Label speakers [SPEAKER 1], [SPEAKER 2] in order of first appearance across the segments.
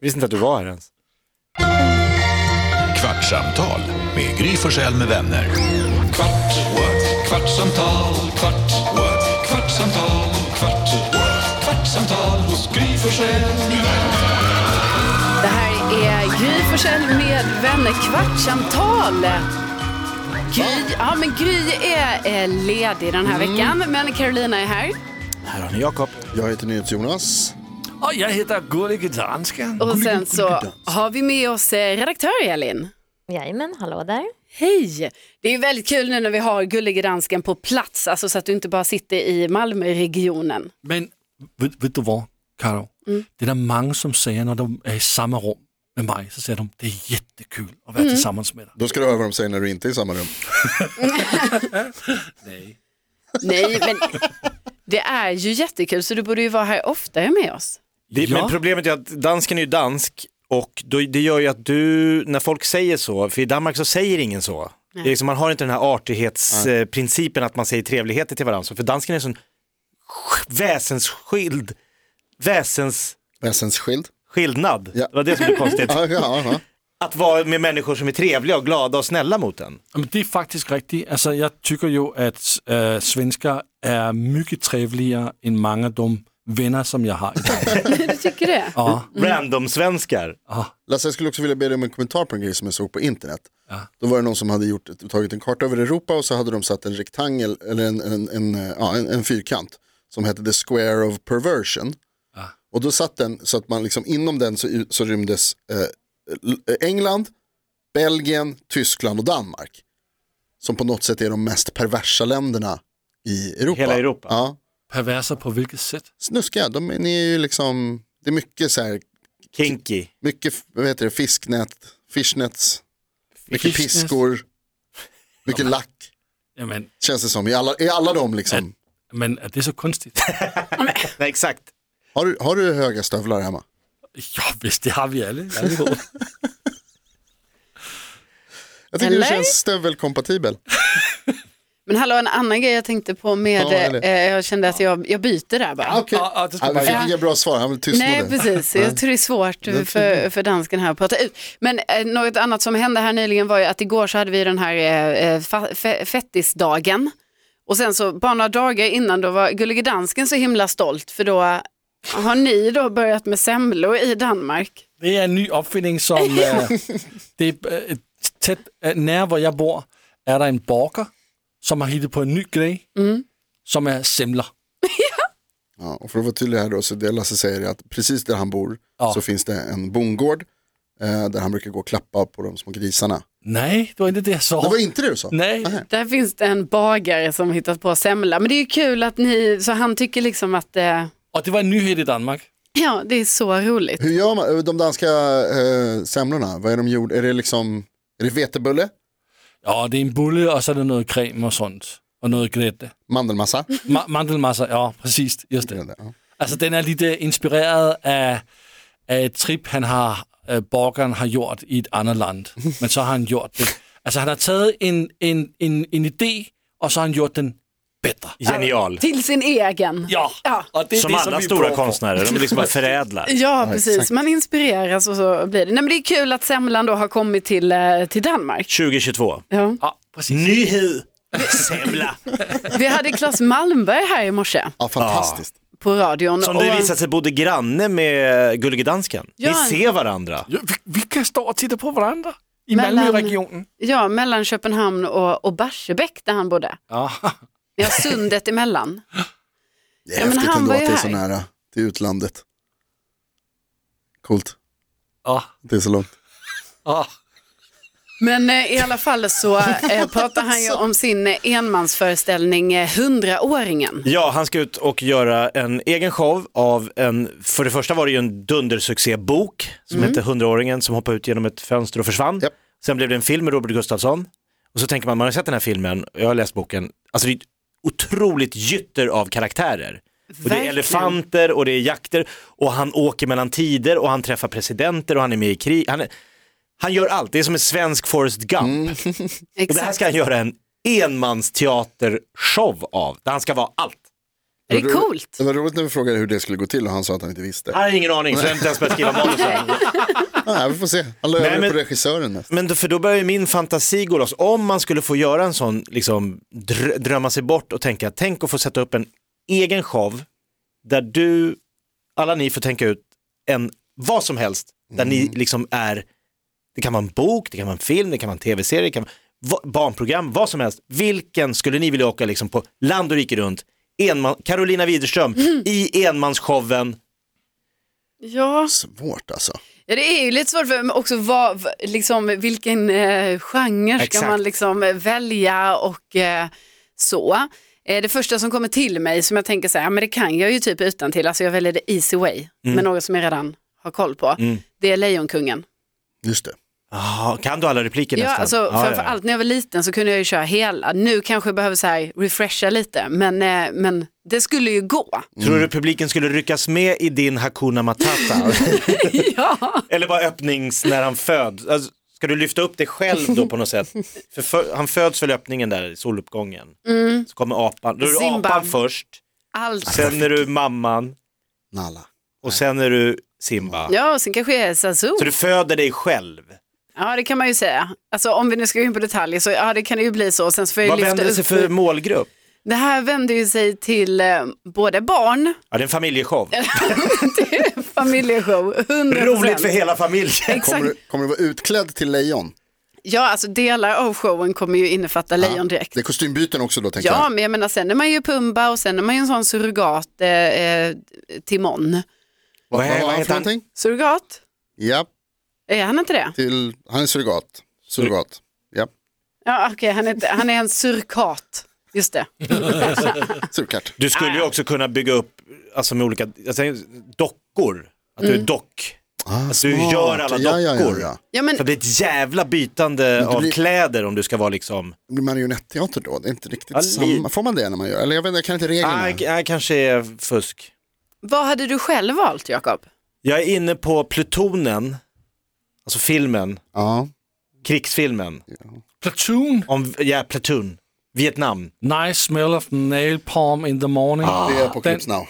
[SPEAKER 1] Visste inte att du var här ens.
[SPEAKER 2] Kvartsamtal med Gry Forssell med vänner. Kvart, what? kvartsamtal, kvart, what? kvartsamtal, kvart, what? kvartsamtal hos Gry Forssell med vänner.
[SPEAKER 3] Det här är Gry Forssell med vänner, kvartsamtal. Gry, ja, men Gry är eh, ledig den här veckan, men Carolina är här.
[SPEAKER 1] Här har ni Jakob.
[SPEAKER 4] Jag heter NyhetsJonas.
[SPEAKER 5] Och jag heter Gullige Dansken.
[SPEAKER 3] Och sen så har vi med oss eh, redaktör Elin.
[SPEAKER 6] Jajamän, hallå där.
[SPEAKER 3] Hej! Det är ju väldigt kul nu när vi har Gullige Dansken på plats, alltså så att du inte bara sitter i Malmöregionen.
[SPEAKER 5] Men vet, vet du vad, Karo? Det är där många som säger när de är i samma rum med mig, så säger de det är jättekul att vara tillsammans med dig.
[SPEAKER 4] Då ska du höra vad de säger när du inte är i samma rum.
[SPEAKER 5] Nej.
[SPEAKER 3] Nej, men det är ju jättekul, så du borde ju vara här oftare med oss.
[SPEAKER 1] Det,
[SPEAKER 5] Ja.
[SPEAKER 1] Men problemet är att dansken är ju dansk och då, det gör ju att du, när folk säger så, för i Danmark så säger ingen så. Det är liksom, man har inte den här artighetsprincipen att man säger trevligheter till varandra. Så För dansken är en sån sj- väsensskild, väsensskillnad.
[SPEAKER 4] Väsensskild. Ja.
[SPEAKER 1] Det var det som blev konstigt.
[SPEAKER 4] Ja, ja, ja.
[SPEAKER 1] Att vara med människor som är trevliga och glada och snälla mot en.
[SPEAKER 5] Men det är faktiskt riktigt. Alltså, jag tycker ju att äh, svenskar är mycket trevligare än många av de vänner som jag har idag.
[SPEAKER 3] Du tycker det?
[SPEAKER 5] ja.
[SPEAKER 1] Random-svenskar.
[SPEAKER 4] Lasse, jag skulle också vilja be dig om en kommentar på en grej som jag såg på internet. Då var det någon som hade gjort, tagit en karta över Europa och så hade de satt en rektangel, eller en, en, en, eh, ja, en, en fyrkant, som hette The Square of Perversion. Och då satt den så att man liksom inom den så, så rymdes eh, L- England, Belgien, Tyskland och Danmark. Som på något sätt är de mest perversa länderna i Europa.
[SPEAKER 1] Hela Europa.
[SPEAKER 4] Ja,
[SPEAKER 5] Perversa på vilket sätt?
[SPEAKER 4] snuskiga, de är, ni är ju liksom, det är mycket så här
[SPEAKER 1] Kinky.
[SPEAKER 4] mycket vad heter det, fisknät, fishnets, mycket
[SPEAKER 5] Fishnets.
[SPEAKER 4] piskor, mycket lack.
[SPEAKER 5] Ja, men,
[SPEAKER 4] Känns det som, i alla, i alla dem liksom.
[SPEAKER 5] men är det så konstigt?
[SPEAKER 1] Nej, exakt.
[SPEAKER 4] Har du, har du höga stövlar hemma?
[SPEAKER 5] ja, visst, det har vi alla. allihop.
[SPEAKER 4] Jag tycker
[SPEAKER 3] Eller?
[SPEAKER 4] du känns stövelkompatibel.
[SPEAKER 3] Men hallå, en annan grej jag tänkte på med,
[SPEAKER 4] Ja, eller?
[SPEAKER 3] eh, jag kände att jag, jag byter där bara.
[SPEAKER 4] Ah, Okej,
[SPEAKER 5] Ja, ja, det ska
[SPEAKER 4] Ah, vi
[SPEAKER 5] man
[SPEAKER 4] fick
[SPEAKER 5] göra.
[SPEAKER 4] inga bra svar, han vill tystna
[SPEAKER 3] Nej,
[SPEAKER 4] det.
[SPEAKER 3] precis. Jag tror det är svårt för, för dansken här att prata ut. Men eh, något annat som hände här nyligen var ju att igår så hade vi den här eh, eh, fa- fe- fettisdagen. Och sen så bara några dagar innan då var Gullige Dansken så himla stolt för då har ni då börjat med semlor i Danmark.
[SPEAKER 5] Det är en ny uppfinning som... eh, det är, eh, tæt, øh, nær hvor jeg bor, er der en borger, som har hittat på en ny grej,
[SPEAKER 4] Mm.
[SPEAKER 5] som är semler.
[SPEAKER 4] Ja, och för att vara tydlig här då, så det Lasse säger är att precis där han bor så finns det en bondgård eh, där han brukar gå och klappa på de små grisarna.
[SPEAKER 5] Nej, det var inte det jag sa.
[SPEAKER 4] Det var inte det du sa?
[SPEAKER 5] Nej,
[SPEAKER 3] Där finns det en bagare som hittat på semla. Men det är ju kul att ni, så han tycker liksom att eh,
[SPEAKER 5] och det var en nyhet i Danmark.
[SPEAKER 3] ja, det är så roligt.
[SPEAKER 4] Hur gör man, de danska eh, semlorna, vad är de gjorda, är det liksom, är det vetebulle,
[SPEAKER 5] Ja, det är en bulle och så är det något kräm och sånt. Och något grädde.
[SPEAKER 4] mandelmassa?
[SPEAKER 5] Ma mandelmassa, ja precis, just det.
[SPEAKER 4] Ja.
[SPEAKER 5] Alltså den är lite inspirerad av, av ett trip han har, äh, borgaren har gjort i ett annat land. Men så har han gjort det. Alltså han har tagit en, en, en, en idé och så har han gjort den bättre.
[SPEAKER 1] Genial.
[SPEAKER 3] Till sin egen.
[SPEAKER 5] Ja,
[SPEAKER 3] Ja.
[SPEAKER 5] Och det är
[SPEAKER 1] Som
[SPEAKER 5] det
[SPEAKER 1] alla
[SPEAKER 5] vi
[SPEAKER 1] stora
[SPEAKER 5] prövar på.
[SPEAKER 1] konstnärer, de liksom bara förädlar.
[SPEAKER 3] Ja, precis. Man inspireras och så blir det. Nej, men det är kul att semlan då har kommit till, eh, till Danmark.
[SPEAKER 1] 2022.
[SPEAKER 3] Ja.
[SPEAKER 5] Ja, precis.
[SPEAKER 1] Nyhet! Semla!
[SPEAKER 3] Vi hade Claes Malmberg här i morse
[SPEAKER 4] Ja, fantastiskt.
[SPEAKER 3] på radion.
[SPEAKER 1] Som det
[SPEAKER 3] och-
[SPEAKER 1] visade sig bodde granne med Gullige Dansken. Ni
[SPEAKER 3] Ja.
[SPEAKER 1] ser varandra.
[SPEAKER 5] Ja, vi, vi kan stå och titta på varandra i
[SPEAKER 3] Mellan-
[SPEAKER 5] Malmöregionen.
[SPEAKER 3] Ja, mellan Köpenhamn och, och Barsebäck där han bodde.
[SPEAKER 5] Ja.
[SPEAKER 3] Ja, sundet emellan.
[SPEAKER 4] Det är
[SPEAKER 3] Ja, men
[SPEAKER 4] häftigt
[SPEAKER 3] han
[SPEAKER 4] ändå
[SPEAKER 3] var
[SPEAKER 4] att
[SPEAKER 3] ju
[SPEAKER 4] det är så
[SPEAKER 3] här.
[SPEAKER 4] nära till utlandet. Coolt,
[SPEAKER 5] Ja.
[SPEAKER 4] det är så långt.
[SPEAKER 5] Ja.
[SPEAKER 3] Men eh, i alla fall så eh, pratar han ju om sin eh, enmansföreställning eh, 100-åringen.
[SPEAKER 1] Ja, han ska ut och göra en egen show av en, för det första var det ju en dundersuccébok som hette 100-åringen som hoppade ut genom ett fönster och försvann.
[SPEAKER 4] Japp.
[SPEAKER 1] Sen blev det en film med Robert Gustafsson. Och så tänker man, man har sett den här filmen, jag har läst boken, alltså det är ett otroligt gytter av karaktärer. Och det är
[SPEAKER 3] Verkligen.
[SPEAKER 1] elefanter och det är jakter och han åker mellan tider och han träffar presidenter och han är med i krig. Han, är, han gör allt, det är som en svensk Forrest Gump. Och det här
[SPEAKER 3] Exakt.
[SPEAKER 1] ska han göra en enmansteatershow av, där han ska vara allt.
[SPEAKER 3] Det er
[SPEAKER 4] var ro-
[SPEAKER 3] coolt.
[SPEAKER 4] Det var roligt när vi frågade hur det skulle gå till och han sa att han inte visste.
[SPEAKER 1] Jag har ingen aning, så jag har inte ens börjat skriva manus än.
[SPEAKER 4] Nej, Ah, vi får se. Han la
[SPEAKER 1] Nej,
[SPEAKER 4] över
[SPEAKER 1] men-
[SPEAKER 4] på regissören nästan.
[SPEAKER 1] Men då, för då börjar ju min fantasi gå loss. Om man skulle få göra en sån, liksom dr- drömma sig bort och tänka, tänk att få sätta upp en egen show där du, alla ni får tänka ut en, vad som helst, där ni liksom är, det kan vara en bok, det kan vara en film, det kan vara en tv-serie, det kan vara va- barnprogram, vad som helst. Vilken skulle ni vilja åka liksom på land och rike runt? Enman, Carolina Widerström i enmansshowen.
[SPEAKER 3] Ja.
[SPEAKER 4] Svårt alltså.
[SPEAKER 3] Ja, det är ju lite svårt för men också vad, v- liksom, vilken eh, genre ska
[SPEAKER 1] Exakt.
[SPEAKER 3] man liksom eh, välja och eh, så. Eh, det första som kommer till mig som jag tänker så här, ja, men det kan jag ju typ utan till. alltså jag väljer det easy way
[SPEAKER 1] Mm.
[SPEAKER 3] med något som jag redan har koll på. Det är Lejonkungen.
[SPEAKER 4] Just det.
[SPEAKER 1] Ah, kan du alla repliker
[SPEAKER 3] Ja,
[SPEAKER 1] nästan?
[SPEAKER 3] alltså,
[SPEAKER 1] Ja, ja, ja.
[SPEAKER 3] framför allt när jag var liten så kunde jag ju köra hela. Nu kanske jag behöver så här refresha lite, men, eh, men det skulle ju gå.
[SPEAKER 1] Tror du publiken skulle ryckas med i din Hakuna Matata? Eller bara öppnings när han föds? Alltså, ska du lyfta upp det själv då på något sätt? För för, han föds väl i öppningen där i soluppgången.
[SPEAKER 3] Mm.
[SPEAKER 1] Så kommer apan. Då är du
[SPEAKER 3] Simba.
[SPEAKER 1] apan först,
[SPEAKER 3] Allt.
[SPEAKER 1] sen är du mamman
[SPEAKER 4] Nalla.
[SPEAKER 1] och sen är du Simba.
[SPEAKER 3] Ja, och sen kanske jag är Zazu.
[SPEAKER 1] Så du föder dig själv.
[SPEAKER 3] Ja, det kan man ju säga. Alltså om vi nu ska gå in på detaljer så ja, det kan det ju bli så. Sen så får jag
[SPEAKER 1] Vad
[SPEAKER 3] ju
[SPEAKER 1] vänder det
[SPEAKER 3] lyfta
[SPEAKER 1] sig
[SPEAKER 3] upp.
[SPEAKER 1] för målgrupp?
[SPEAKER 3] Det här vänder ju sig till eh, både barn,
[SPEAKER 1] Ja, det är en familjeshow.
[SPEAKER 3] familjeshow, 100%.
[SPEAKER 1] Roligt för hela familjen.
[SPEAKER 4] Kommer,
[SPEAKER 3] Exakt.
[SPEAKER 4] du- kommer du vara utklädd till lejon?
[SPEAKER 3] Ja, alltså delar av showen kommer ju innefatta lejon direkt.
[SPEAKER 4] Det är kostymbyten också då tänker
[SPEAKER 3] Ja,
[SPEAKER 4] jag.
[SPEAKER 3] men jag menar sen är man ju Pumba och sen är man ju en sån surrogat eh, eh, Timon.
[SPEAKER 1] Vad,
[SPEAKER 4] Vad var
[SPEAKER 1] vad
[SPEAKER 4] han för
[SPEAKER 1] heter han?
[SPEAKER 4] någonting?
[SPEAKER 3] Surrogat?
[SPEAKER 4] Ja,
[SPEAKER 3] Är han inte det?
[SPEAKER 4] till, han är surrogat. Surrogat. Ja,
[SPEAKER 3] Ja, okej, han, är inte- han är en surkat. Just det.
[SPEAKER 4] surkat.
[SPEAKER 1] Du skulle ju
[SPEAKER 3] Ah.
[SPEAKER 1] också kunna bygga upp alltså, med olika jag säger, dockor. Att
[SPEAKER 3] Mm.
[SPEAKER 1] du är dock. Alltså, du gör alla dockor.
[SPEAKER 4] Ah, Ja, ja, ja, ja.
[SPEAKER 3] Ja, men
[SPEAKER 1] Så det blir ett jävla bytande av
[SPEAKER 4] blir-
[SPEAKER 1] kläder om du ska vara liksom...
[SPEAKER 4] Det blir marionetteater då, det är inte riktigt
[SPEAKER 1] Ja, li-
[SPEAKER 4] samma. Får man det när man gör? Eller jag vet inte, jag kan inte reglerna.
[SPEAKER 1] Nej, ah, kanske är fusk.
[SPEAKER 3] vad hade du själv valt, Jakob?
[SPEAKER 1] Jag är inne på Plutonen, alltså filmen,
[SPEAKER 4] Ja.
[SPEAKER 1] krigsfilmen,
[SPEAKER 5] Platoon,
[SPEAKER 1] om, ja, Platoon, Vietnam.
[SPEAKER 5] nice smell of nail palm in the morning.
[SPEAKER 4] Ah, Det är Apocalypse Now.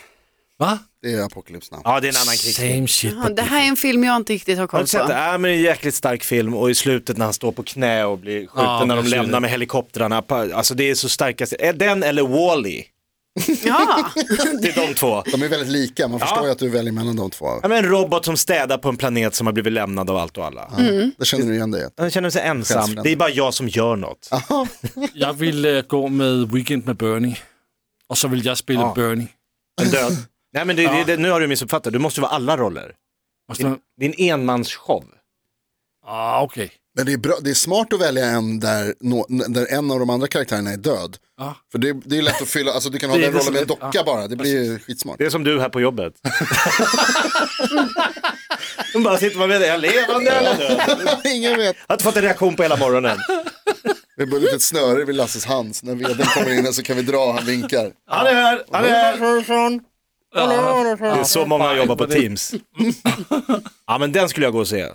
[SPEAKER 5] Va?
[SPEAKER 4] Det är Apocalypse Now.
[SPEAKER 1] Ja, det är en annan krigsfilm.
[SPEAKER 5] Same shit.
[SPEAKER 3] Ja, Det här är en film jag inte riktigt har
[SPEAKER 1] Har du
[SPEAKER 3] koll
[SPEAKER 1] inte sett det?
[SPEAKER 3] på.
[SPEAKER 1] Ja, men det är en jäkligt stark film och i slutet när han står på knä och blir skjuten
[SPEAKER 5] Ja,
[SPEAKER 1] när de
[SPEAKER 5] jag ser
[SPEAKER 1] lämnar
[SPEAKER 5] det.
[SPEAKER 1] med helikoptrarna. Pa- Alltså det är så starkaste. Är Den eller Wall-E?
[SPEAKER 3] Ja,
[SPEAKER 1] Det är de två.
[SPEAKER 4] De är väldigt lika, man förstår ju att du väljer mellan de två.
[SPEAKER 1] Ja, men en robot som städar på en planet som har blivit lämnad av allt och alla.
[SPEAKER 4] Det känner du igen dig i.
[SPEAKER 1] Han känner sig ensam. Det är bara jeg som gör något.
[SPEAKER 5] Jeg vil øh, gå med Weekend med Bernie, og så vil jeg spille
[SPEAKER 1] Ah.
[SPEAKER 5] Bernie.
[SPEAKER 1] En död. Nej men det, det, det, nu har du missuppfattat, du måste ju vara alla roller.
[SPEAKER 5] Og så,
[SPEAKER 1] Det är en enmansshow.
[SPEAKER 5] ah, okay.
[SPEAKER 4] Men det är, bra, det är smart att välja en där, nå- där en av de andra karaktärerna är död.
[SPEAKER 5] Ja.
[SPEAKER 4] För det, det är lätt att fylla, alltså du kan ha
[SPEAKER 1] Det är
[SPEAKER 4] den
[SPEAKER 1] det
[SPEAKER 4] rollen
[SPEAKER 1] som
[SPEAKER 4] med
[SPEAKER 1] är-
[SPEAKER 4] en docka bara, det blir ju skitsmart.
[SPEAKER 1] Det är som du här på jobbet. De bara sitter man med, är jag levande eller död?
[SPEAKER 4] Ingen vet.
[SPEAKER 1] Jag har inte fått en reaktion på hela morgonen.
[SPEAKER 4] Vi har ett litet snöre vid Lasses hand, så när veden kommer in här så kan vi dra, han vinkar.
[SPEAKER 1] Han är här, han är här. Det är så många som jobbar på Teams. Ja men den skulle jag gå och se.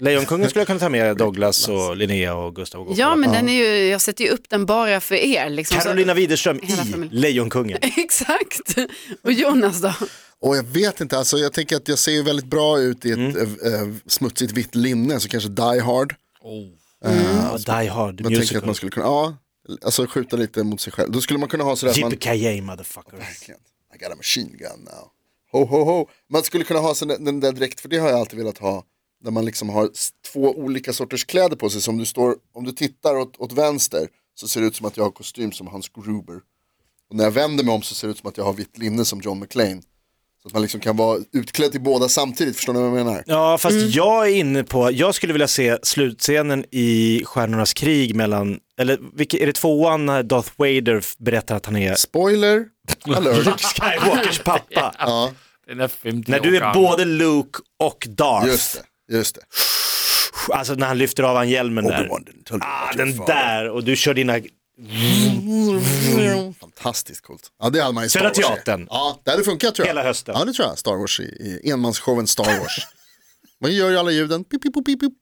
[SPEAKER 1] Lejonkungen skulle jag kunna ta med Douglas och Linnea och Gustav och gå
[SPEAKER 3] ja
[SPEAKER 1] på.
[SPEAKER 3] men den är ju, jag sätter ju upp den bara för er. Liksom. Så-
[SPEAKER 1] Carolina Widerström
[SPEAKER 3] Hela
[SPEAKER 1] i
[SPEAKER 3] familjen.
[SPEAKER 1] Lejonkungen.
[SPEAKER 3] Exakt. Och Jonas då?
[SPEAKER 4] Och jag vet inte, alltså jag tänker att jag ser ju väldigt bra ut i ett eh, eh, smutsigt vitt linne, så kanske Die Hard.
[SPEAKER 1] Ja, Die Hard,
[SPEAKER 4] Jag tänker att
[SPEAKER 1] musical.
[SPEAKER 4] man skulle kunna, ja, alltså skjuta lite mot sig själv. Då skulle man kunna ha sådär att man...
[SPEAKER 1] Yippee-ki-yay motherfucker.
[SPEAKER 4] Verkligen. I got a machine gun now. Ho, ho, ho. Man skulle kunna ha sån, den där direkt, för det har jag alltid velat ha. Där man liksom har s- två olika sorters kläder på sig. Så om du, står, om du tittar åt, åt vänster så ser det ut som att jag har kostym som Hans Gruber. Och när jag vänder mig om så ser det ut som att jag har vitt linne som John McClane. Så att man liksom kan vara utklädd till båda samtidigt, förstår ni vad jag menar?
[SPEAKER 1] Ja, fast
[SPEAKER 4] Mm.
[SPEAKER 1] jag är inne på, jag skulle vilja se slutscenen i Stjärnornas krig mellan, eller vilka, är det tvåan när Darth Vader f- berättar att han är
[SPEAKER 4] Spoiler alert.
[SPEAKER 1] Skywalkers pappa?
[SPEAKER 4] ja,
[SPEAKER 5] Den er 15
[SPEAKER 1] När du är både Luke och Darth,
[SPEAKER 4] just det. Just det.
[SPEAKER 1] alltså när han lyfter av han hjälmen där.
[SPEAKER 4] Obi-Wan didn't tell you
[SPEAKER 1] Ah,
[SPEAKER 4] about your
[SPEAKER 1] den
[SPEAKER 4] father.
[SPEAKER 1] där, och du kör dina,
[SPEAKER 4] Fantastiskt coolt. Ja, det hade man i Star
[SPEAKER 1] Södra
[SPEAKER 4] Wars. i.
[SPEAKER 1] Mm. Teatern.
[SPEAKER 4] Ja, det hade funkat tror jag.
[SPEAKER 1] Hela hösten.
[SPEAKER 4] Ja, det tror jag. Star Wars i, i enmansshowen Star Wars. man gör ju alla ljuden. Pip, pip, pip, pip.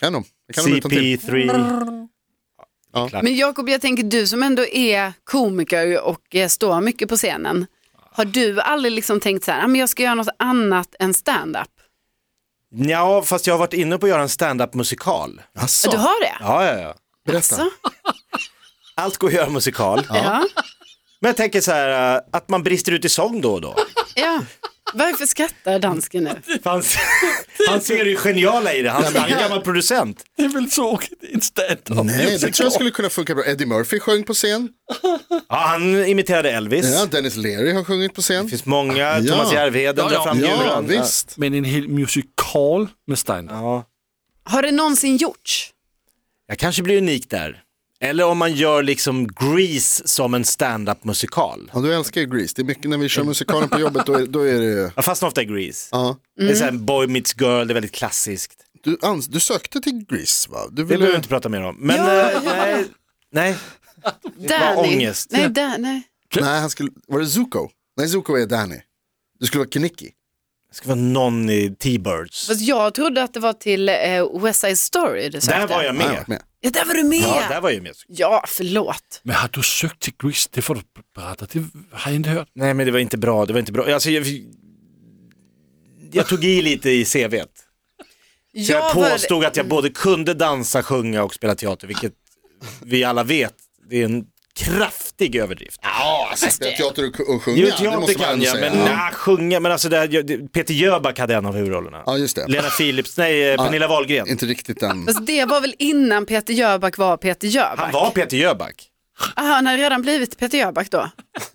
[SPEAKER 4] Kan de? Det Kan de utan till.
[SPEAKER 1] CP3. klart.
[SPEAKER 3] Men Jakob, jag tänker du som ändå är komiker och eh, står mycket på scenen. Har du aldrig liksom tänkt så här, "Ah, men jag ska göra något annat än stand-up?
[SPEAKER 1] Ja, fast jag har varit inne på att göra en stand-up musikal.
[SPEAKER 3] Du har det?
[SPEAKER 1] Ja, ja, ja.
[SPEAKER 4] Berätta.
[SPEAKER 3] Alltså?
[SPEAKER 1] Allt går att göra musikal.
[SPEAKER 3] Ja.
[SPEAKER 1] Men jag tänker så här, eh, att man brister ut i sång då och då.
[SPEAKER 3] ja. Varför skrattar dansken nu?
[SPEAKER 1] Han, han ser det geniala i det, han är en gammal producent.
[SPEAKER 5] Det är väl tråkigt, en stand-up.
[SPEAKER 4] Nej, det tror jag skulle kunna funka bra. Eddie Murphy sjöng på scen.
[SPEAKER 1] Ja, han imiterade Elvis.
[SPEAKER 4] Ja, Dennis Leary har sjungit på scen.
[SPEAKER 1] Det finns många,
[SPEAKER 4] Ja.
[SPEAKER 1] Thomas Järvheden
[SPEAKER 5] Ja, ja.
[SPEAKER 1] drar fram
[SPEAKER 4] Ja,
[SPEAKER 1] djuren.
[SPEAKER 4] visst.
[SPEAKER 5] Men en hel musical med stand-up.
[SPEAKER 1] Ja.
[SPEAKER 3] Har det någonsin gjorts?
[SPEAKER 1] Jag kanske blir unik där. Eller om man gör liksom Grease som en stand-up musikal.
[SPEAKER 4] Ja, du älskar ju Grease. Det är mycket när vi
[SPEAKER 1] Mm.
[SPEAKER 4] kör musikalen på jobbet, då är, då är det...
[SPEAKER 1] Jag fastnar ofta i Grease.
[SPEAKER 4] Ja. Mm.
[SPEAKER 1] Det är så här boy meets girl, det är väldigt klassiskt.
[SPEAKER 4] Du, ans- du sökte till Grease va? Du
[SPEAKER 1] Det
[SPEAKER 4] ville...
[SPEAKER 1] behöver vi inte prata mer om. Men eh, nej, nej, var
[SPEAKER 3] Danny.
[SPEAKER 1] ångest.
[SPEAKER 3] Nej, da, nej.
[SPEAKER 4] Nej, han skulle... Var det Zuko? Nej, Zuko är Danny. Du skulle vara Kenicki.
[SPEAKER 1] det ska vara någon i T-Birds.
[SPEAKER 3] Fast jag trodde att det var till eh, West Side Story du
[SPEAKER 1] Där
[SPEAKER 3] sökte.
[SPEAKER 1] var jag
[SPEAKER 4] Nej, jag
[SPEAKER 1] med.
[SPEAKER 4] var med.
[SPEAKER 3] Ja, där var du med.
[SPEAKER 1] Ja,
[SPEAKER 3] Ja,
[SPEAKER 1] där var jag med.
[SPEAKER 3] förlåt.
[SPEAKER 5] Men har du sökt till Grease? Det får du berätta, det har jag inte hört.
[SPEAKER 1] Nej, men det var inte bra. Det var inte bra. Alltså, jag, jag tog i lite i CVt. Så jag
[SPEAKER 3] var-
[SPEAKER 1] påstod att jag både kunde dansa, sjunga och spela teater, vilket vi alla vet, det är en kraftig överdrift.
[SPEAKER 4] Ja, alltså, spela teater och, och sjunga.
[SPEAKER 1] Jo,
[SPEAKER 4] det måste
[SPEAKER 1] teater
[SPEAKER 4] man
[SPEAKER 1] kan
[SPEAKER 4] ändå
[SPEAKER 1] jag,
[SPEAKER 4] säga.
[SPEAKER 1] men
[SPEAKER 4] Ja.
[SPEAKER 1] nej, sjunga, men alltså det här, jag- det- Peter Jöback hade en av huvudrollerna.
[SPEAKER 4] Ja, just det.
[SPEAKER 1] Lena Philips, nej, eh, Pernilla Wahlgren.
[SPEAKER 4] Inte riktigt den.
[SPEAKER 3] Fast det var väl innan Peter Jöback var Peter
[SPEAKER 1] Han
[SPEAKER 3] Jöback?
[SPEAKER 1] var Peter Jöback.
[SPEAKER 3] Aha, han hade redan blivit Peter Jöback då?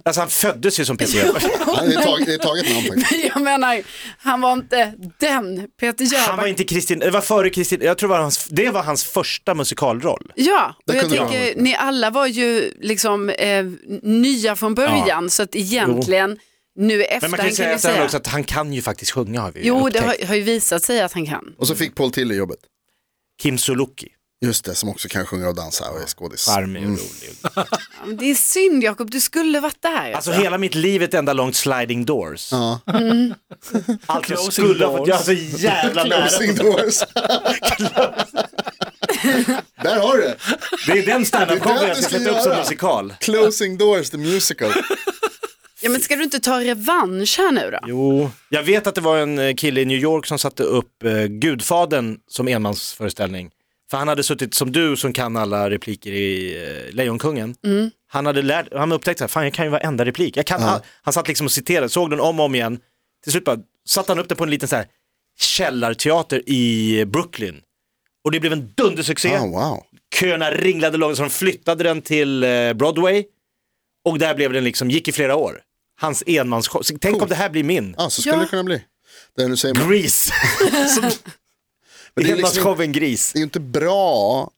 [SPEAKER 1] Alltså han föddes ju som Peter Jöback.
[SPEAKER 4] Ja, det, är tag, det är taget namn faktiskt.
[SPEAKER 3] Jag menar, han var inte den Peter Jöback.
[SPEAKER 1] Han var inte Kristin, det var före Kristin, jag tror det var hans, det var hans första musikalroll.
[SPEAKER 3] Ja, och
[SPEAKER 4] Där
[SPEAKER 3] jag
[SPEAKER 4] kunde det ha
[SPEAKER 3] tänker, ni alla var ju liksom eh, nya från början, så att egentligen nu i
[SPEAKER 1] Men
[SPEAKER 3] efterhand
[SPEAKER 1] man kan ju säga
[SPEAKER 3] vi säga.
[SPEAKER 1] efterhand också att han kan ju faktiskt sjunga har vi ju
[SPEAKER 3] Jo, det
[SPEAKER 1] upptäckt.
[SPEAKER 3] har, har ju visat sig att han kan.
[SPEAKER 4] Och så fick Paul Tilly jobbet.
[SPEAKER 1] Kim Sulocki,
[SPEAKER 4] Just det, som också kan sjunga och dansa och är skådis.
[SPEAKER 1] charmig och
[SPEAKER 4] Mm.
[SPEAKER 1] rolig.
[SPEAKER 3] Ja, men Det är synd Jakob, du skulle varit där.
[SPEAKER 1] Alltså hela mitt liv är ett enda långt sliding doors.
[SPEAKER 4] Ja.
[SPEAKER 1] Allt jag
[SPEAKER 5] Closing
[SPEAKER 1] skulle ha fått
[SPEAKER 5] doors.
[SPEAKER 1] göra så jävla nära.
[SPEAKER 4] Closing doors. Där har du det.
[SPEAKER 1] Det är den
[SPEAKER 4] Det är
[SPEAKER 1] standup-showen
[SPEAKER 4] den
[SPEAKER 1] jag
[SPEAKER 4] du
[SPEAKER 1] ska
[SPEAKER 4] ska
[SPEAKER 1] sätta upp som
[SPEAKER 4] göra.
[SPEAKER 1] musikal.
[SPEAKER 4] Closing doors, the musical.
[SPEAKER 3] Ja, men ska du inte ta revansch här nu då?
[SPEAKER 1] Jo. Jag vet att det var en eh, kille i New York som satte upp eh, Gudfaden som enmansföreställning. För han hade suttit som du som kan alla repliker i eh, Lejonkungen. Han hade lärt, han upptäckte att fan jag kan ju varenda replik. Jag kan, han, han satt liksom och citerade, såg den om och om igen. Till slut bara, satte han upp den på en liten så här källarteater i Brooklyn. Och det blev en dundersuccé.
[SPEAKER 4] Ah, wow.
[SPEAKER 1] köerna ringlade långt så de flyttade den till eh, Broadway och där blev den liksom, gick i flera år. Hans enmansshow. Så Tänk om det här blir min.
[SPEAKER 4] Ah, så skulle
[SPEAKER 3] Ja.
[SPEAKER 4] det kunna bli. Det du säger, men
[SPEAKER 1] Gris.
[SPEAKER 4] det är, liksom,
[SPEAKER 1] Enmansshowen Gris.
[SPEAKER 4] det är ju inte bra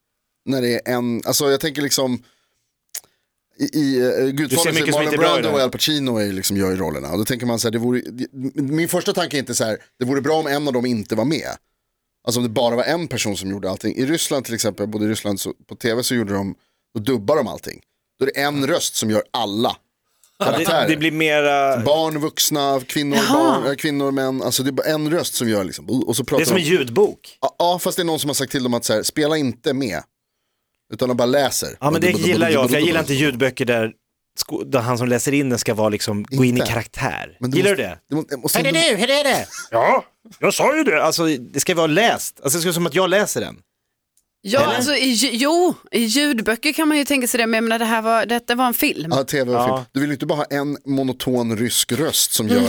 [SPEAKER 4] när det är en, alltså jag tänker liksom i, i uh, Gudfadern så
[SPEAKER 1] mycket som
[SPEAKER 4] är Marlon
[SPEAKER 1] inte är bra i
[SPEAKER 4] Brando
[SPEAKER 1] det.
[SPEAKER 4] och Al Pacino är ju liksom gör ju rollerna. Och då tänker man så här, det vore, min första tanke är inte så här, det vore bra om en av dem inte var med. Alltså om det bara var en person som gjorde allting. I Ryssland till exempel, jag bodde i Ryssland, så, på tv så gjorde de, då dubbar de allting. Då är det en röst som gör alla
[SPEAKER 1] Det,
[SPEAKER 4] karaktärer.
[SPEAKER 1] det blir mera,
[SPEAKER 4] Barn, vuxna, kvinnor, barn, äh, kvinnor, män. Alltså det är bara en röst som gör liksom. Och så pratar
[SPEAKER 1] det är som
[SPEAKER 4] de-
[SPEAKER 1] en ljudbok.
[SPEAKER 4] Ja, Ja, fast det är någon som har sagt till dem att så här, spela inte med. Utan de bara läser.
[SPEAKER 1] Ja men det gillar jag, för jag gillar inte ljudböcker där, sko- där han som läser in den ska vara liksom, gå in i
[SPEAKER 4] Inte.
[SPEAKER 1] karaktär.
[SPEAKER 4] Men
[SPEAKER 1] Gillar
[SPEAKER 4] måste-
[SPEAKER 1] du det?
[SPEAKER 4] måste- måste-
[SPEAKER 1] Hur är det nu, hur är det? Ja, jag sa ju det. Alltså det ska vara läst, alltså det ska vara som att jag läser den.
[SPEAKER 3] Ja, alltså, i, ju- jo, i ljudböcker kan man ju tänka sig det, men jag menar, det här var, detta var en film.
[SPEAKER 4] Ja, tv och
[SPEAKER 1] Ja.
[SPEAKER 4] film. Du vill ju inte bara ha en monoton rysk röst som gör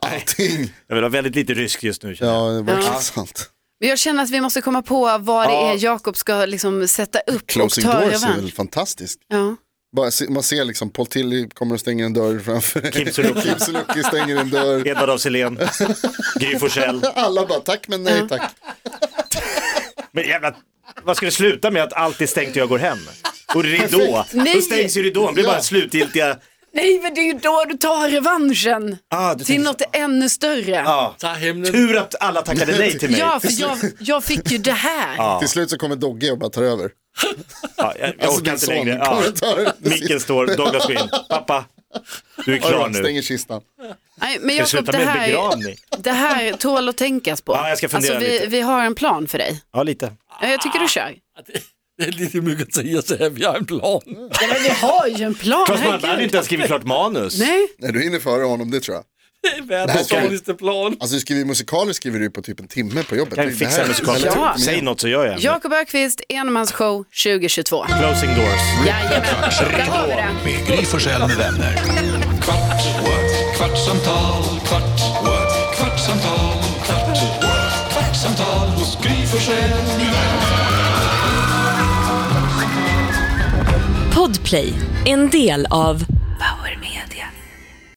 [SPEAKER 4] allting.
[SPEAKER 1] Jag vill ha väldigt lite rysk just nu känner jag.
[SPEAKER 4] Ja, det var ja. sant.
[SPEAKER 3] Men jag känner att vi måste komma på vad det är Jakob ska liksom sätta upp
[SPEAKER 4] Closing
[SPEAKER 3] och ta
[SPEAKER 4] Doors är
[SPEAKER 3] revansch.
[SPEAKER 4] väl fantastiskt.
[SPEAKER 3] Ja.
[SPEAKER 4] Bara se, man ser liksom, Paul Tilly kommer och stänger en dörr framför.
[SPEAKER 1] Kim Sulocki.
[SPEAKER 4] Kim Sulocki stänger en dörr.
[SPEAKER 1] Edvard af Sillén, Gry Forssell.
[SPEAKER 4] Alla bara tack men nej tack.
[SPEAKER 1] Men jävla, vad ska det sluta med att allt är stängt och jag går hem? Och ridå, då
[SPEAKER 3] Nej.
[SPEAKER 1] stängs ju ridån, blir bara slutgiltiga...
[SPEAKER 3] Nej, men det är ju då du tar revanschen.
[SPEAKER 1] Ah, du
[SPEAKER 3] till
[SPEAKER 1] tänker
[SPEAKER 3] något ännu större.
[SPEAKER 1] Ja.
[SPEAKER 5] Ta hem den.
[SPEAKER 1] Tur att alla tackade nej till mig.
[SPEAKER 3] Ja, för jag, jag fick ju det här.
[SPEAKER 4] Till slut så kommer Dogge och bara tar över.
[SPEAKER 1] Ja, jag jag
[SPEAKER 4] Alltså,
[SPEAKER 1] orkar
[SPEAKER 4] din
[SPEAKER 1] inte
[SPEAKER 4] son
[SPEAKER 1] längre. Ja.
[SPEAKER 4] kommer och tar över.
[SPEAKER 1] Micken står, Douglas går in. Pappa, du är klar
[SPEAKER 4] Alright,
[SPEAKER 1] nu.
[SPEAKER 4] Stänger kistan.
[SPEAKER 3] Nej, men
[SPEAKER 1] Ska du
[SPEAKER 3] Jakob,
[SPEAKER 1] sluta
[SPEAKER 3] det
[SPEAKER 1] med
[SPEAKER 3] här,
[SPEAKER 1] begravning?
[SPEAKER 3] det här tål att tänkas på.
[SPEAKER 1] Ja, jag ska fundera
[SPEAKER 3] alltså, vi,
[SPEAKER 1] lite. Ah.
[SPEAKER 3] vi har en plan för dig.
[SPEAKER 1] Ja, lite.
[SPEAKER 3] Ja, Jag tycker du kör.
[SPEAKER 5] Det, det är lite mycket tid att säga, vi har en plan.
[SPEAKER 3] Ja, men vi har ju en plan.
[SPEAKER 1] Fast man hade
[SPEAKER 3] herregud.
[SPEAKER 1] inte ens skrivit klart manus.
[SPEAKER 3] Nej,
[SPEAKER 4] Nej, du hinner före honom, det tror jag.
[SPEAKER 5] Det är världens
[SPEAKER 4] Det här kan-
[SPEAKER 5] dåligaste plan.
[SPEAKER 4] Alltså du skriver musikaler skriver du på typ en timme på jobbet.
[SPEAKER 1] Kan
[SPEAKER 4] Det
[SPEAKER 1] vi
[SPEAKER 4] här-
[SPEAKER 1] fixa en musikal?
[SPEAKER 3] Ja.
[SPEAKER 1] Säg något så gör jag en.
[SPEAKER 3] Jakob Ökvist, enmansshow 2022.
[SPEAKER 1] Closing doors.
[SPEAKER 3] Jajamän, där har vi det.
[SPEAKER 2] Med Gry Forssell med vänner. Kvart, what? kvartsamtal, kvart, what? kvartsamtal, kvart, what? kvartsamtal hos Gry Forssell med vänner.
[SPEAKER 6] Podplay, en del av